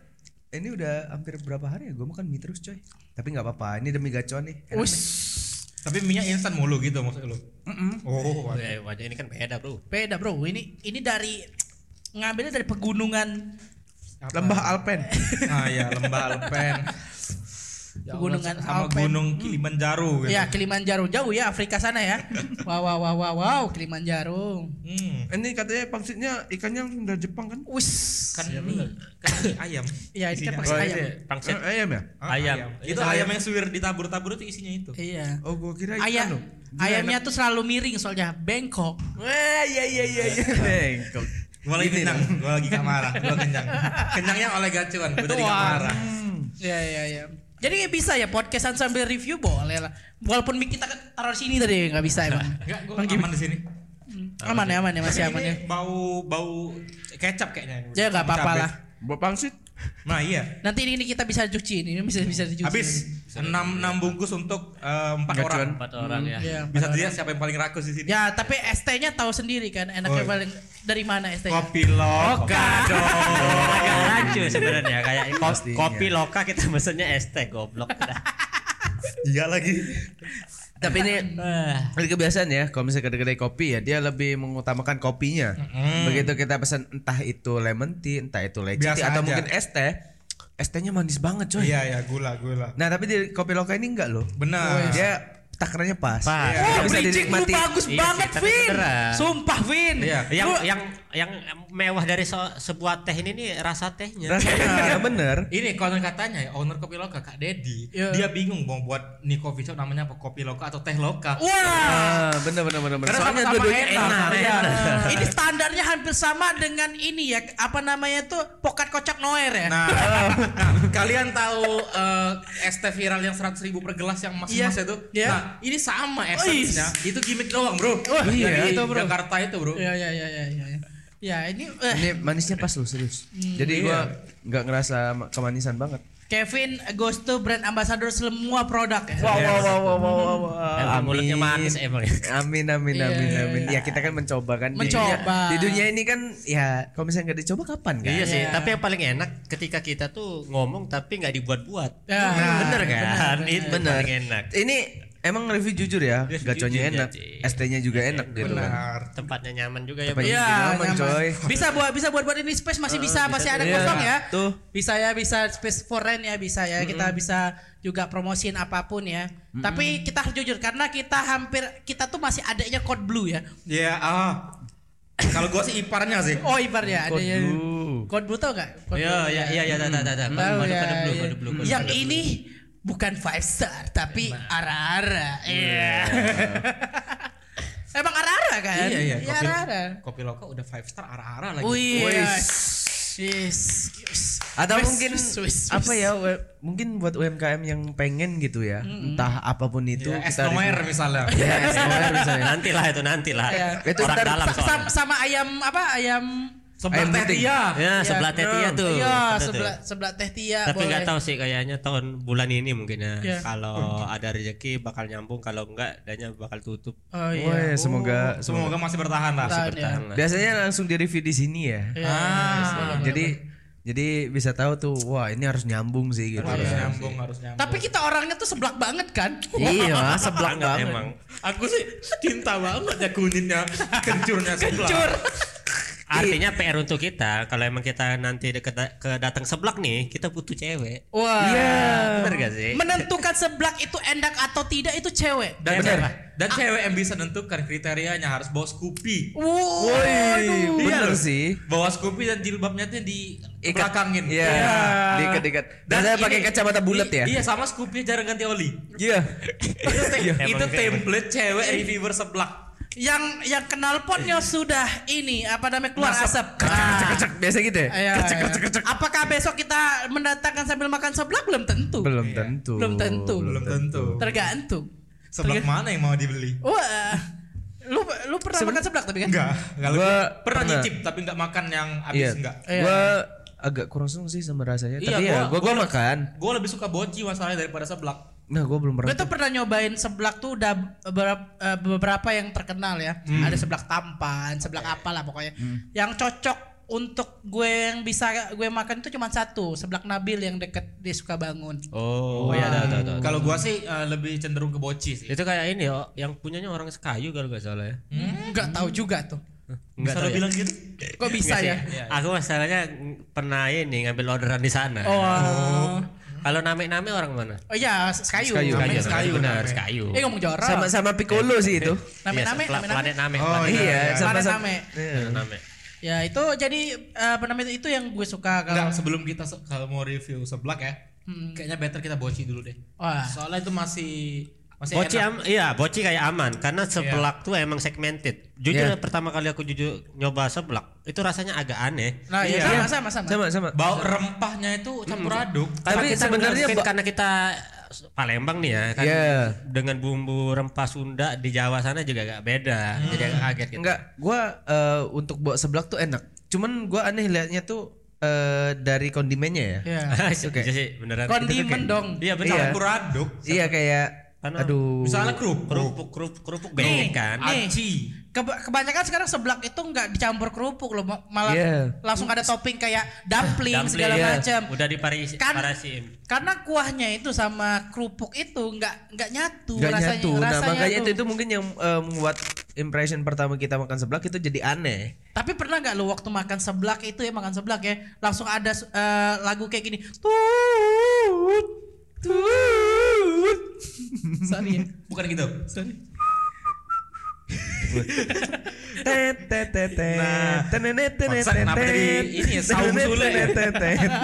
E: ini udah hampir berapa hari ya gue makan mie terus coy. Tapi nggak apa-apa, ini demi gacuan nih. Enak
C: Us.
E: nih.
D: Tapi minyak instan mulu gitu maksud lu. Oh, waduh.
F: Wah, Wajah ini kan beda, Bro.
C: Beda bro. Ini ini dari ngambilnya dari pegunungan
D: Apa?
E: Lembah Alpen.
D: Ah ya, lembah Alpen. Ya Allah,
C: Pegunungan
D: sama
C: Alpen. Hmm.
D: gunung Kilimanjaro gitu.
C: Ya Kilimanjaro jauh ya Afrika sana ya. Wow wow wow wow wow Kilimanjaro.
D: Hmm.
E: ini katanya pangsitnya ikannya langsung dari Jepang kan?
C: Wis.
D: Kan Iya. ini kan ini ayam.
C: Ya Iya, ini kan
D: Isinya
C: pasti ayam.
F: Pangsit
E: Eh, ayam ya?
D: Ah,
F: Ayam.
D: Itu ayam yang suwir ditabur-tabur itu isinya itu.
C: Iya.
E: Oh gue kira ikan
C: Ayam
E: loh. Gila,
C: ayamnya
E: enak.
C: tuh selalu miring soalnya bengkok.
E: Wah iya iya iya iya. Bengkok.
D: Gua lagi
E: Ini
D: kenyang, gua lagi gak marah, gua kenyang. Kenyangnya oleh gacuan, gua tadi gak
C: Wah.
D: marah.
C: Iya iya iya. Jadi nggak bisa ya podcastan sambil review boleh lah. Walaupun mic kita taruh sini tadi nggak bisa emang.
D: Enggak, gua aman di sini.
C: Aman ya aman ya masih
D: Tapi
C: aman
D: ini
C: ya.
D: Bau bau kecap kayaknya. ini.
C: Ya nggak apa-apa
D: Cabai.
C: lah.
E: Buat pangsit?
D: Nah, iya.
C: Nanti ini, ini kita bisa cuci ini bisa bisa dicuci.
D: Habis 6 6 bungkus untuk eh, empat
E: Gacuan.
D: orang.
F: empat orang
E: Hmm,
F: ya.
C: Iya,
D: Bisa
C: padahal-
D: dilihat siapa yang paling rakus di sini.
C: Ya tapi ST-nya tahu sendiri kan enaknya
D: Oh.
C: paling dari mana ST-nya.
D: Kopi loka.
F: Agak rancu sebenarnya kayak ko-
E: Pastinya.
F: kopi loka kita mesennya es teh goblok.
E: Iya lagi. Tapi ini
F: Ah,
E: Ini kebiasaan ya, kalau misalnya kedai-kedai kopi ya dia lebih mengutamakan kopinya. Begitu kita pesan entah itu lemon tea, entah itu leci
D: Biasa
E: tea, atau
D: aja.
E: mungkin es teh, es tehnya manis banget coy.
D: Iya, ya, gula, gula.
E: Nah tapi di kopi loka ini enggak loh.
D: Benar.
E: Dia takarannya pas.
F: Pas.
E: Iya.
C: Wah,
E: Bisa
C: bridging lu
E: dinikmati.
C: bagus
F: Iya sih,
C: banget,
F: tapi
C: Vin.
F: beneran.
C: Sumpah, Vin.
D: Iya.
F: yang
C: Lu-
F: yang yang mewah dari so- sebuah teh ini nih rasa tehnya.
E: Rasanya Iya. bener.
D: Ini konon katanya ya owner kopi loka Kak Dedi,
C: Iya.
D: dia bingung mau buat nih coffee shop namanya apa kopi loka atau teh loka.
C: Wah.
E: Ah, bener bener bener. bener.
D: Karena
E: Soalnya
D: sama-sama
E: dua-duanya
D: enak,
E: enak.
D: iya.
E: enak.
C: Ini standarnya hampir sama dengan ini ya, apa namanya tuh pokat kocak noer ya.
D: Nah, nah, kalian tahu eh, es teh viral yang 100.000 ribu per gelas yang mas mas
C: Iya.
D: itu?
C: Iya.
D: Nah, iya. ini sama esensnya. Itu gimmick doang, bro.
E: iya,
D: Dari
E: itu, bro.
D: Jakarta itu, bro.
C: Ya ya ya ya ya. ya. Ya ini eh,
E: Ini manisnya pas loh serius.
C: Hmm.
E: Jadi gua nggak ngerasa ma- kemanisan banget.
C: Kevin Goes to brand ambassador semua produk ya.
E: Wow wow wow wow wow wow.
F: Emang mulutnya manis emang ya.
E: Amin amin
C: Iya,
E: amin
C: iya,
E: amin. Ya kita kan mencoba kan. Di
C: Mencoba.
E: dunia- Di dunia ini kan ya kalau misalnya nggak dicoba kapan kan?
F: Iya sih,
C: Iya.
F: tapi yang paling enak ketika kita tuh ngomong tapi nggak dibuat-buat.
C: Ya.
F: Iya, Nah, bener kan?
C: Bener,
F: Itu
E: bener.
F: paling enak.
E: Ini emang review jujur ya.
F: Review
E: Gaconya
F: jujur,
E: enak,
F: jadi.
E: ST-nya juga enak gitu kan.
F: Tempatnya nyaman juga ya.
E: Tempatnya-
F: Bang.
C: Iya,
E: Nyaman,
C: nyaman.
E: coy.
C: Bisa buat bisa buat buat ini space masih bisa, masih ada
E: Iya,
C: kosong ya.
E: Tuh.
C: Bisa ya, bisa space for rent ya bisa ya. Kita bisa juga promosiin apapun ya. Tapi kita harus jujur karena kita hampir kita tuh masih adanya code blue ya.
D: Ya, ah. Kalau gua sih iparnya sih.
C: Oh, ibar ya,
E: Code
C: adanya.
E: Blue.
C: Code blue tau gak? Code
F: Iya,
C: Blue.
F: iya, iya, iya, tak, tak, tak.
C: Tahu
F: Kode-
C: ya.
F: kode blue,
C: iya.
F: kode blue, kode
C: Yang
F: blue.
C: ini bukan five star tapi ara-ara. Iya. Emang ara-ara kan?
D: Iya, iya, kopi,
C: ara-ara.
D: kopi loka udah five star arah-arah lagi.
C: Wih. iya.
E: Wis.
C: Yes. yes.
E: Atau
C: Wis,
E: mungkin
C: wis, wis, wis.
E: apa ya? we- Mungkin buat UMKM yang pengen gitu ya. Entah apapun itu
D: Itu Ya, es
E: Iya, kita.
D: nomer
E: review.
D: misalnya. Iya.
E: Ya, es nomer misalnya.
F: Nantilah itu nantilah.
C: Iya.
E: Itu
F: Orang
E: ntar
F: dalam
C: Sa- sa-
F: soalnya.
C: sama ayam apa ayam
D: Sebelah
E: Ayam
D: teh
E: putih.
D: Tia.
F: Ya, sebelah teh Tia tuh.
C: Iya,
F: Ada tuh.
C: sebelah sebelah teh Tia.
F: Tapi nggak
C: boleh.
F: tahu sih kayaknya tahun bulan ini mungkin ya.
C: Iya.
F: Kalau ada rezeki bakal nyambung, kalau enggak danya bakal tutup.
C: Oh iya.
E: Wah, semoga
D: Semoga masih bertahan lah.
C: Tahan ya.
F: Bertahan lah.
E: Biasanya langsung di review di sini
C: Iya,
E: ya.
C: boleh, boleh,
E: Jadi
C: boleh.
E: jadi bisa tahu tuh, wah ini harus nyambung sih gitu.
D: Harus
E: ya.
D: nyambung, harus nyambung.
C: tapi kita orangnya tuh seblak banget kan?
E: Iya, seblak
F: Banget
E: banget.
F: emang.
D: aku sih cinta banget ya kunitnya, kencurnya sebelah.
C: Cur.
F: Artinya PR untuk kita, kalau emang kita nanti deket ke datang seblak nih, kita butuh cewek.
C: Wah.
E: Iya.
F: Bener gak sih?
C: Menentukan seblak itu enak atau tidak itu cewek.
D: Dan, dan cewek yang bisa nentukan kriterianya harus bawa Scoopy.
E: Woi,
C: Waduh.
E: bener
D: loh.
E: Iya sih.
D: Bawa Scoopy dan jilbabnya tuh di belakangin.
E: Iya. Diikat-ikat. Dan, saya pakai kacamata bulat ya.
D: Iya, sama Scoopy jarang ganti oli.
E: Iya.
D: itu te-
E: Iya.
D: itu
F: Emang kayak
D: template cewek reviewer seblak.
C: Yang yang kenal potnya sudah ini apa namanya keluar
D: Masuk.
C: asap. Ah.
E: Kecek-kecek biasa gitu ya?
C: Iya, iya. Apakah besok kita mendatangkan sambil makan seblak belum tentu.
E: Belum tentu.
C: Iya. Belum tentu.
D: Belum tentu.
C: Tergantung.
D: Seblak
C: Terga-
D: mana yang mau dibeli?
C: Wah. Lu lu pernah makan seblak tapi kan?
D: Enggak, enggak
E: Gua
D: lebih. Pernah
E: pernah.
D: nyicip tapi enggak makan yang habis
E: Iya.
D: enggak.
C: Iya.
E: Gua agak kurang seneng sih sama rasanya.
D: Iya,
E: Tapi ya
D: gua-
E: gua gua makan.
D: Gue lebih suka boci masalahnya daripada seblak.
E: Nah, gua belum
C: Gue
E: pernah.
C: tuh pernah nyobain seblak tuh udah beberapa, eh, beberapa yang terkenal ya. Ada seblak tampan, seblak apalah pokoknya. Yang cocok untuk gue yang bisa gue makan itu cuma satu, seblak Nabil yang deket di Sukabangun.
F: Oh, iya, ada, ada, ada.
D: Kalau gua sih eh, lebih cenderung ke boci sih.
F: Itu kayak ini oh, yang punyanya orang sekayu kalau nggak salah ya.
C: Enggak tahu juga tuh.
F: Nggak
D: Bisa lo
F: tahu ya.
D: bilang gitu?
C: Kok bisa
F: iya,
C: ya?
F: Aku masalahnya ng- pernah ini ngambil orderan di sana.
C: Oh.
F: Kalau name-name orang mana?
C: Oh iya, Sekayu.
E: Sekayu,
C: Namanya
F: Kayu,
E: Kayu,
C: Sekayu.
F: benar, kayu.
C: Eh ngomong jorok.
E: Sama sama Piccolo sih itu.
C: Name name
F: Iya,
C: name name.
F: planet name.
D: Oh,
F: planet
D: iya,
E: iya,
D: iya.
E: sama
C: Planet
E: sama.
C: name.
F: name.
C: Ya itu jadi eh, apa namanya itu yang gue suka
D: Enggak,
E: Nah.
C: kalau
D: sebelum kita se- kalau mau review seblak ya.
C: Hmm.
D: Kayaknya better kita boci dulu deh.
C: Wah.
D: Soalnya itu masih masih
F: Boci
D: enak.
F: am- iya, boci kayak aman karena seblak tuh emang segmented. Jujur pertama kali aku jujur nyoba seblak, itu rasanya agak aneh.
C: Nah, iya, sama
D: Iya.
C: sama sama.
E: Sama sama.
D: Bau rempahnya itu campur aduk.
E: Tapi
F: Tapi
E: sebenarnya
F: sebenarnya
E: ba-
F: karena kita Palembang nih ya kan
E: Iya.
F: dengan bumbu rempah Sunda di Jawa sana juga agak beda. Jadi agak kaget gitu.
E: Enggak, gua eh, untuk bawa seblak tuh enak. Cuman gua aneh liatnya tuh eh, dari kondimennya ya.
C: Iya.
F: Oke. sih beneran.
C: Kondimen dong.
F: Iya benar.
E: Iya.
D: Campur aduk.
E: Iya kayak
F: Karena
E: aduh.
D: Misalnya kerupuk.
F: Kerupuk kerupuk kerupuk beda kan.
C: Nih.
D: Eh, Aci.
C: Keba- kebanyakan sekarang seblak itu nggak dicampur kerupuk loh, ma- malah
E: Iya.
C: langsung ada topping kayak dumpling,
F: Dumpling,
C: segala
F: iya.
C: macam.
F: Udah diparasi
C: Kan-
F: parasiin.
C: Karena kuahnya itu sama kerupuk itu nggak nggak nyatu
E: Gak
C: rasanya.
E: nyatu. Nah,
C: rasanya
E: makanya itu
C: tuh.
E: itu mungkin yang eh, membuat impression pertama kita makan seblak itu jadi aneh.
C: Tapi pernah nggak lo waktu makan seblak itu ya makan seblak ya, langsung ada eh, lagu kayak gini. Tut tut. Sorry ya.
D: Bukan gitu.
E: Tet, tet, tet, tet.
D: Nah,
E: Tenenet, tenet,
D: konsep kenapa
E: tenet.
D: jadi ini ya, saung
E: Tenenet,
D: sule ya?
E: tenet, tenet, tenet.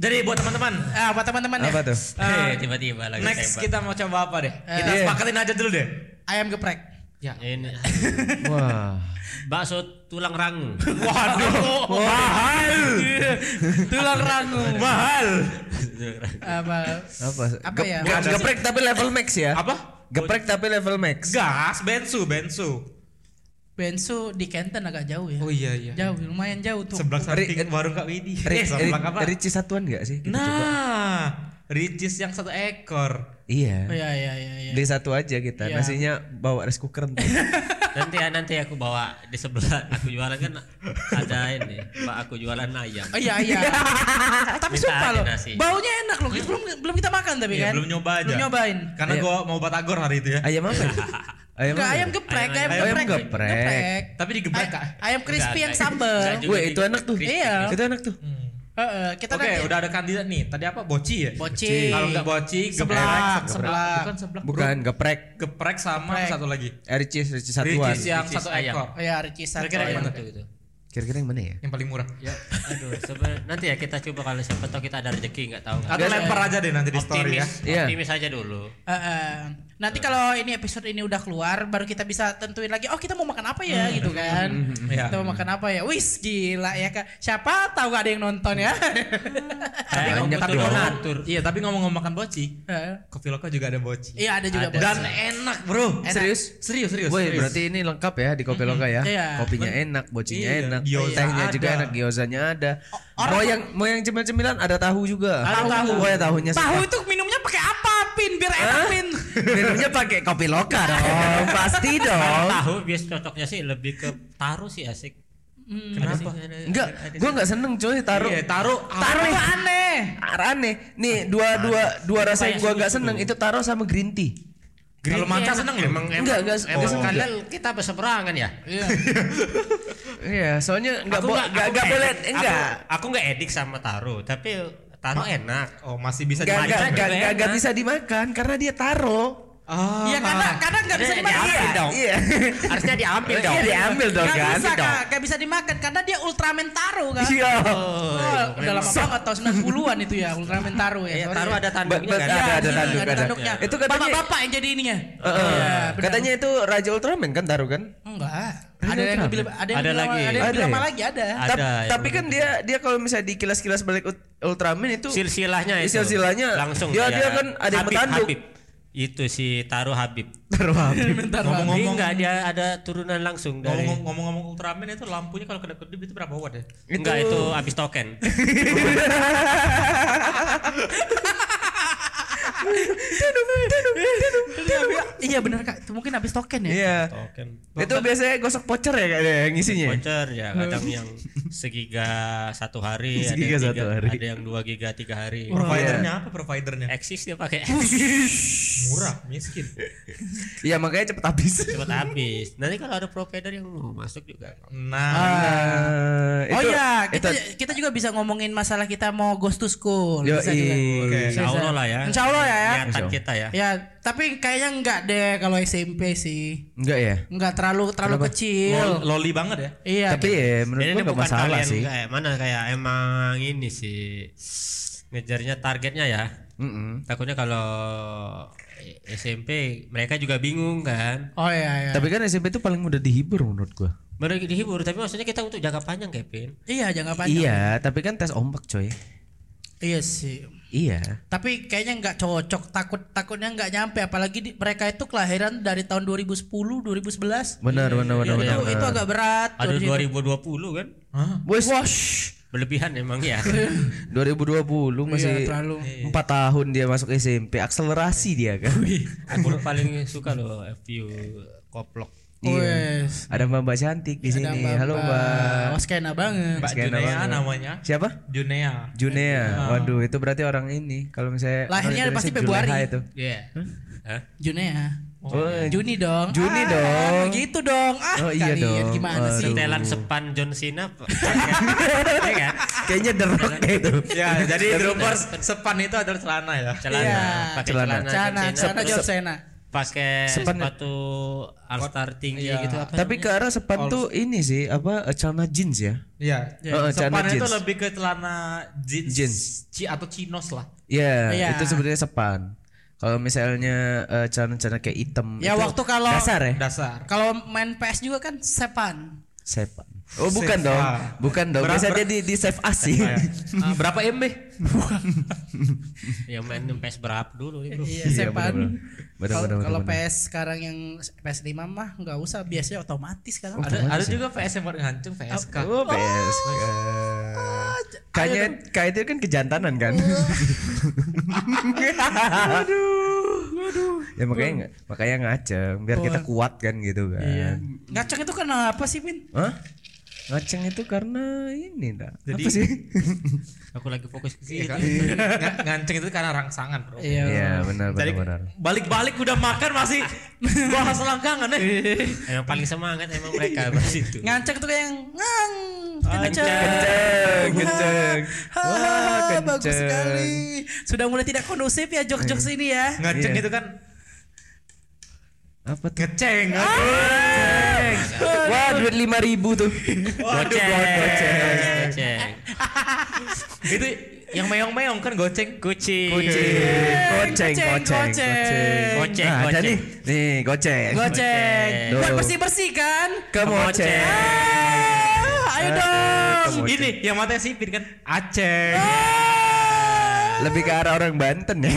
D: Jadi buat teman-teman,
C: Ah, buat teman-teman ya.
E: Apa tuh?
F: Eh, tiba-tiba lagi
D: next
F: tembak.
D: kita mau coba apa deh? Kita
E: Iya.
D: sepakatin aja dulu deh.
C: Ayam geprek.
D: Ya.
F: Ini
E: Wah.
F: bakso tulang rangu.
D: Waduh, mahal.
C: Tulang rangu.
D: mahal.
C: Apa?
E: Apa?
C: Apa
E: Gep-
C: ya?
E: bukan geprek tapi level max ya.
D: Apa?
E: Geprek tapi level max.
D: Gas, bensu, bensu.
C: Bensu di Kenten agak jauh ya.
D: Oh iya iya.
C: Jauh, lumayan jauh tuh.
D: Sebelah samping
E: Ri-
D: warung Kak Widi. Eh,
E: Ri-
D: sebelah
E: Ri-
D: apa?
E: Ricis satuan gak sih?
D: Hmm?
E: Kita Gitu coba.
D: Nah, ricis yang satu ekor. ya?
C: Oh iya
E: Iya.
C: iya iya. iya.
E: Beli satu aja kita.
C: Iya.
E: Nasinya bawa rice cooker. ntar.
F: nanti ya nanti aku bawa di sebelah aku jualan kan ada ini pak aku jualan ayam
C: Oh iya iya. tapi
F: Minta
C: sumpah
F: aja
C: loh,
F: nasi.
C: baunya enak loh. Kita belum belum kita makan tapi
D: Iya,
C: kan.
D: belum nyoba aja.
C: Belum nyobain.
D: Karena
E: Iya.
D: gua mau batagor hari itu ya.
E: Ayam apa?
D: Iya,
E: ya?
C: Enggak
E: Ayam apa ya?
C: ayam geprek, ayam,
F: Ayam-
E: ayam
C: geprek.
E: geprek.
D: Tapi digeprek
C: Ay-
D: Kak.
C: Ayam crispy
F: Enggak,
C: yang
F: enggak.
C: sambel.
F: Enggak juga.
E: Wih, itu enak tuh.
C: Iya.
E: Itu enak tuh.
C: Heeh, kita
D: Oke, udah ada kandidat nih. Tadi apa? Boci ya?
C: Boci.
D: Kalau enggak boci,
C: Seblak,
D: geprek,
C: seblak.
D: Bukan seblak.
E: Bukan
D: bro.
E: geprek.
D: geprek sama
C: Geprek.
D: satu lagi.
E: Eh, Ricis, Ricis satuan.
D: Ricis yang satu
F: ayam.
D: ekor.
C: Oh ya, ricis
D: Kira-kira yang mana tuh?
F: gitu
E: Kira-kira yang mana ya?
D: Yang paling murah.
F: Aduh, sebe- nanti ya kita coba kalau siapa tahu kita ada rezeki nggak tahu. kan.
D: Atau lempar aja deh nanti di story ya.
F: Optimis, Nah,
E: Iya.
F: optimis aja dulu.
C: Eh, eh, nanti kalau ini episode ini udah keluar baru kita bisa tentuin lagi oh kita mau makan apa ya gitu kan
D: Iya.
C: kita mau makan apa ya wis gila ya kak siapa tahu gak ada yang nonton ya
F: Tapi
D: ngomong-
F: banyak
D: tapi
F: dong.
D: ngomong- Iya, tapi ngomong-ngomong makan boci,
C: Eh,
D: kopi loka juga ada boci.
C: iya ada juga
F: Ada.
C: bos.
D: Dan enak, Bro.
C: Enak.
D: Serius? Serius, serius.
E: Woi,
D: serius.
E: berarti ini lengkap ya di Kopi Loka ya.
C: Iya.
E: Kopinya enak, bocinya
D: Iya,
E: enak,
D: gyoza
E: tehnya juga
D: ada.
E: enak, gyozanya ada.
C: orang-
E: mau yang mau yang cemilan-cemilan ada tahu juga.
C: Ada tahu.
E: Oh, ya tahunya
C: tahu
E: sedap.
C: itu minumnya pakai apa pin biar enak pin
E: Minumnya pakai Kopi Loka dong. Pasti dong.
F: Tahu bias cocoknya sih lebih ke taruh sih asik.
D: Kenapa?
E: Enggak, gua enggak seneng coy taruh. Ah,
D: Iya, taruh
E: Taruh
C: Apa
E: aneh.
C: aneh
E: Aneh. Nih, dua dua dua rasa yang gua enggak seneng itu taruh sama green tea.
D: Kalau makan seneng loh.
F: emang
E: Enggak, enggak,
F: emang
E: enggak.
F: kalian kita berseberangan ya.
E: Iya, soalnya enggak
F: Aku
E: bo-
F: nggak-
E: enggak enggak
F: aku nggak
E: boleh
F: edik-
E: enggak.
F: Aku, aku nggak edik sama taruh, tapi taruh enak.
D: Oh, masih bisa
E: Enggak enggak
D: dimakan.
E: enggak enggak- enggak
F: enak.
E: bisa dimakan karena dia taruh.
D: Ah.
C: Iya karena karena nggak bisa
F: Iya,
C: dimakan
F: iya.
C: Nggak
F: dong.
E: Iya.
F: Harusnya diambil dong.
E: Iya, diambil dong kan.
C: bisa
F: dong.
C: kak nggak bisa dimakan karena dia Ultraman Taro kan
E: Iya.
C: Oh, udah lama banget tahun 90-an itu ya Ultraman Taro ya.
F: Iya,
C: sorry
F: ya, taruh
C: ya.
F: ada
E: Ba-
F: tanduknya
E: ba-
F: kan.
E: ada
C: Iya,
E: ada
C: iya,
E: tanduk
C: ada
E: ada.
C: tanduknya.
E: Itu katanya
C: Bapak-bapak yang jadi ininya.
E: Eh,
C: Iya,
E: eh, katanya itu Raja Ultraman kan taruh kan?
C: Enggak. Ada
E: Ada
C: yang
E: kenapa?
C: lebih ada yang
F: Ada
C: lebih lama-
F: lagi.
C: ada yang lebih
E: Ada
C: lama
E: ya?
C: lagi ada.
F: Ada,
E: Ta-
F: ya,
E: tapi kan dia dia kalau misalnya dikilas-kilas balik ut- Ultraman itu
F: silsilahnya itu.
E: Silsilahnya,
F: langsung
E: dia-
F: ya.
E: dia kan ada yang
F: Habib,
E: bertanduk.
F: Habib. Itu si taruh Habib.
E: taruh habis.
C: Bentar, Bang.
F: Jadi
D: Ngomong-ngomong
F: enggak dia ada turunan langsung dari
D: ngomong- ngomong-ngomong Ultraman itu lampunya kalau kedap-kedip itu berapa watt ya?
F: enggak
E: Itu-
F: itu habis token.
C: Iya benar Kak. Itu mungkin habis token ya.
E: Iya.
F: token.
E: Itu biasanya gosok voucher ya kayaknya yang isinya.
F: Voucher ya kadang yang segiga satu hari, ada
E: Segiga
F: yang
E: satu
F: tiga-
E: hari.
F: ada yang dua giga tiga hari.
D: Oh, Providernya apa providernya?
F: Eksis dia pakai
D: Murah, miskin.
E: Iya, makanya cepet habis.
F: cepat habis. Nanti kalau ada provider yang mau masuk juga.
D: Nah,
E: Ah,
C: oh
E: itu-
C: iya,
E: itu-
C: kita kita juga bisa ngomongin masalah kita mau ghost to school.
E: Yoi.
C: Bisa juga.
D: Oke.
F: Insya Allah lah ya.
C: Insya Allah ya, ya.
F: Niatan kita ya.
C: Ya, tapi kayaknya enggak deh kalau SMP sih.
E: Enggak ya?
C: Enggak terlalu terlalu kecil.
D: lo- loli banget ya.
C: Iya.
E: Tapi
C: gitu.
E: ya menurut
F: Ini
E: gua
F: bukan
E: enggak masalah
F: kalian
E: sih.
F: kayak mana kayak emang ini sih ngejarnya targetnya ya.
E: Mm-mm.
F: Takutnya kalau SMP mereka juga bingung kan.
C: Oh iya iya.
E: Tapi kan SMP itu paling mudah dihibur menurut gua.
F: Baru dihibur tapi maksudnya kita untuk jangka panjang Kevin.
C: iya, jangan panjang.
E: Iya, tapi kan tes ombak coy.
C: Iya sih.
E: Iya.
C: Tapi kayaknya nggak cocok, takut takutnya nggak nyampe apalagi di- mereka itu kelahiran dari tahun 2010, 2011.
E: Benar, benar, benar,
C: itu,
E: benar.
C: itu agak berat.
F: Aduh
C: Jadi-
F: 2020 kan.
E: Wash.
F: Berlebihan emang ya.
E: 2020 masih
C: Iya, terlalu.
E: empat tahun dia masuk SMP akselerasi dia kan
F: Aku paling suka loh FPU koplok.
E: iya
C: Wes.
E: ada mbak mbak cantik di
C: Ada
E: sini halo
C: Wah,
E: mbak
C: skena banget.
D: Mbak
E: Sekian
D: Junea
E: abang.
D: namanya.
E: siapa
D: Junea.
E: Junea waduh itu berarti orang ini kalau misalnya orang
C: Iya. Lahirnya
E: Indonesia
C: pasti Februari.
E: Juleha itu
F: Iya. Hah?
C: Juni ya.
E: oh,
C: Juni dong.
E: Juni
C: Ah,
E: dong.
C: Gitu dong. Ah,
E: Oh, iya
C: kalian
E: dong.
C: gimana
E: Aduh.
C: sih?
F: Setelan sepan John Cena. Iya kan?
E: kayaknya gitu. derok kayak itu
D: Ya, jadi dropper sepan itu adalah celana ya.
F: Celana,
C: Iya.
F: pakai
E: Celana.
C: Cana,
F: celana, John Cena.
C: Cana John Cena.
E: Hmm,
F: pakai
E: Sepan-
F: sepatu Alstar tinggi
D: Iya.
F: gitu apa
E: tapi ke
F: namanya?
E: arah sepan tuh ini sih apa eh, celana jeans ya
D: Iya.
E: Heeh,
D: sepan
E: celana
D: itu
E: jeans.
D: lebih ke celana jeans,
E: Jeans.
D: Ci- atau chinos lah.
E: Iya,
C: Iya.
E: itu sebenarnya sepan kalau misalnya eh, celana-celana kayak hitam
C: Ya,
E: itu
C: waktu
D: Oh.
C: kalau-
E: dasar ya
D: Dasar.
C: Kalau main PS juga kan sepan.
E: Sepan. Oh bukan
D: Save
E: dong,
D: A.
E: bukan dong.
D: Ber- ber-
E: Biasanya dia di, di save A sih.
C: ya.
D: Ah, berapa MB?
F: yang Ya, main PS berapa dulu nih bro
C: Iya,
E: Iya,
C: sepan.
E: bener-bener. Bener-bener,
C: Kalau kalau
E: bener-bener.
C: PS sekarang yang PS5 mah nggak usah, biasanya otomatis sekarang.
E: Oh,
D: ada
E: bagus
D: ada
E: ya.
D: juga PS yang buat ngancung PSK.
E: Oh PS. Kayaknya kayak itu kan kejantanan kan. aduh, aduh. Ya makanya nggak- makanya ngaceng biar kita kuat kan gitu kan.
C: Iya. Ngaceng itu kenapa sih, Pin?
E: Hah? Ngaceng itu karena ini dah.
D: Jadi-
E: Apa sih?
F: aku lagi fokus ke sini
D: Nga- ngancung itu karena rangsangan, Bro.
E: Iya benar benar
D: Jadi
E: benar.
D: balik-balik udah makan masih bahas langkangan eh.
F: emang paling semangat emang mereka pas itu
C: Nganceng tuh kayak yang ngang. Kenceng.
E: Kenceng, kenceng. Wah,
C: Wah,
E: kenceng.
C: bagus sekali. Sudah mulai tidak kondusif ya jok-jok sini ya.
D: Ngancung
E: Iya.
D: itu kan
E: Apa tuh?
D: ngeceng.
E: Wah, duit lima ribu tuh.
F: goceng goceng
D: itu yang meong-meong kan goceng.
F: Kucing.
E: Goceng,
C: Goceng,
E: goceng,
C: goceng.
F: Goceng,
E: Nah,
F: goceng.
E: jadi nih goceng.
C: Goceng.
E: Tuh.
C: Buat bersih-bersih kan?
E: Kemoceng.
C: Ah, Ayo dong.
E: Kemoceng.
D: Ini yang matanya sipir kan.
F: Aceh.
E: Ah. Lebih ke arah orang Banten ya.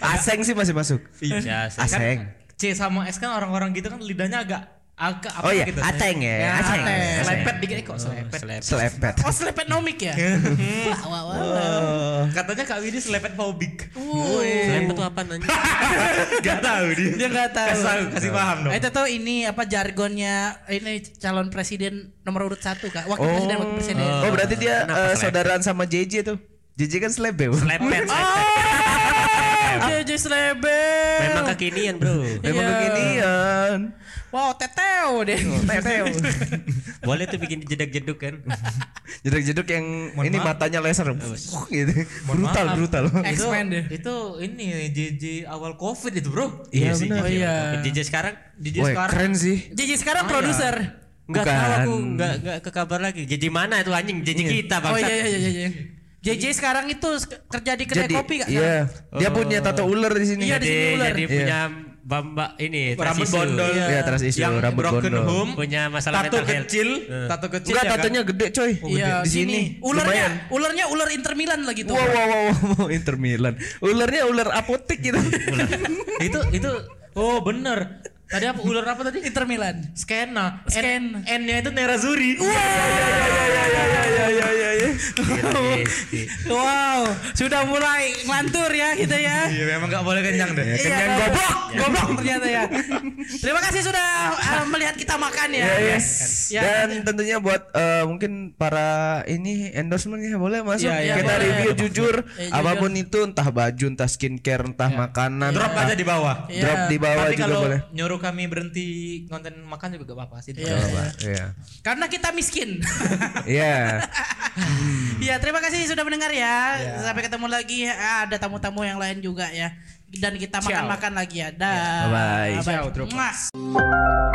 E: Aseng sih masih masuk.
F: Iya, sih. Kan
E: Aseng.
D: C sama S kan orang-orang gitu kan lidahnya agak agak apa
E: Oh iya,
D: gitu.
E: ateng ya. Ateng.
C: ateng.
D: Selepet dikit eh, kok selepet.
E: Selepet.
C: Oh, selepetnomik ya? Wah, wah, wah.
E: Oh.
D: Katanya Kak Widi selepet fobik.
C: Wuih.
F: Selain itu apa nanya?
D: Gak tahu dia.
C: Dia nggak tahu.
D: Kasih tahu, kasih paham dong.
C: Eh, itu tahu ini apa jargonnya ini calon presiden nomor urut satu kak, wakil presiden wakil presiden.
E: Oh berarti dia
F: Kenapa
E: eh,
F: selepet?
E: saudaraan sama JJ tuh. JJ kan selebe. Bu.
F: Lepet.
C: JJ Slebel.
E: kan
F: Memang kekinian, Bro.
E: Memang
C: Iya.
E: kekinian.
C: Wow, teteo deh.
D: Iya.
E: Teteo.
F: Boleh tuh bikin jedak-jeduk kan?
E: Jeduk-jeduk yang
D: Mohon
E: ini
D: maaf.
E: matanya laser. gitu.
D: Mohon
E: Brutal,
D: maaf. Eh,
E: brutal.
C: X-Men deh.
D: Itu ini JJ awal Covid itu, Bro.
E: Iya
F: sih, gitu.
E: benar.
C: Oh,
F: jijik.
C: iya.
F: Jijik sekarang?
D: JJ
E: Wah,
D: sekarang
E: keren sih.
C: JJ
D: Iya.
C: sekarang produser.
F: Enggak tahu
E: Bukan.
F: aku enggak enggak ke kabar lagi. Jadi mana itu anjing? Jadi kita
C: Oh
F: bangsa.
C: iya iya iya iya, iya. JJ sekarang itu sk- kerja di kedai
E: Jadi,
C: kopi kak.
E: iya. Dia punya tato ular di sini.
C: Iya, di
F: Jadi,
C: sini ular.
F: jadi
E: Iya.
F: punya bamba ini
D: rambut
F: trans issue.
D: bondol.
E: Iya, trans issue,
D: Yang
E: rambut
D: broken
E: bondol.
D: home.
F: Punya masalah
D: tato
F: mental health.
D: kecil,
F: Eh.
D: tato kecil.
E: Enggak
D: ya kan?
E: tatonya Oh, gede coy.
C: Iya,
E: di sini.
C: Ularnya,
E: Lumayan.
C: ularnya ular Inter Milan lagi tuh.
E: Wow, wow, wow, wow, Inter Milan. Ularnya ular apotek gitu.
D: itu itu oh bener. Tadi apa ular apa tadi?
C: Inter Milan.
D: Skena.
C: Scan.
D: N, nya itu iya, Nerazuri.
E: Iya, iya, iya, iya.
C: Wow, sudah mulai ngelantur ya kita ya.
D: Iya memang gak boleh kenyang deh.
E: Kenyang gobok.
C: Goblok ternyata ya. Terima kasih sudah eh, melihat kita makan ya.
E: Yes.
C: Ya.
E: Dan tentunya buat eh, mungkin para ini endorsementnya boleh masuk.
C: Iya, iya,
E: Kita
C: boleh.
E: review jujur
C: Eh, jujur. Ya.
E: apapun itu entah baju, entah skincare, entah makanan.
D: Drop
E: entah-
D: aja di bawah.
C: Iya.
E: Drop di bawah
D: Nanti
E: juga
D: kalau
E: boleh.
D: nyuruh kami berhenti konten makan juga gak apa-apa sih.
C: Iya.
E: Coba, Iya.
C: Karena kita miskin.
E: Iya.
C: Ya terima kasih sudah mendengar ya.
E: Iya.
C: Sampai ketemu lagi. Ah, Ada tamu-tamu yang lain
E: Iya.
C: juga ya. Dan kita makan-makan lagi ya. Dah.
E: Bye-bye.
C: Ciao,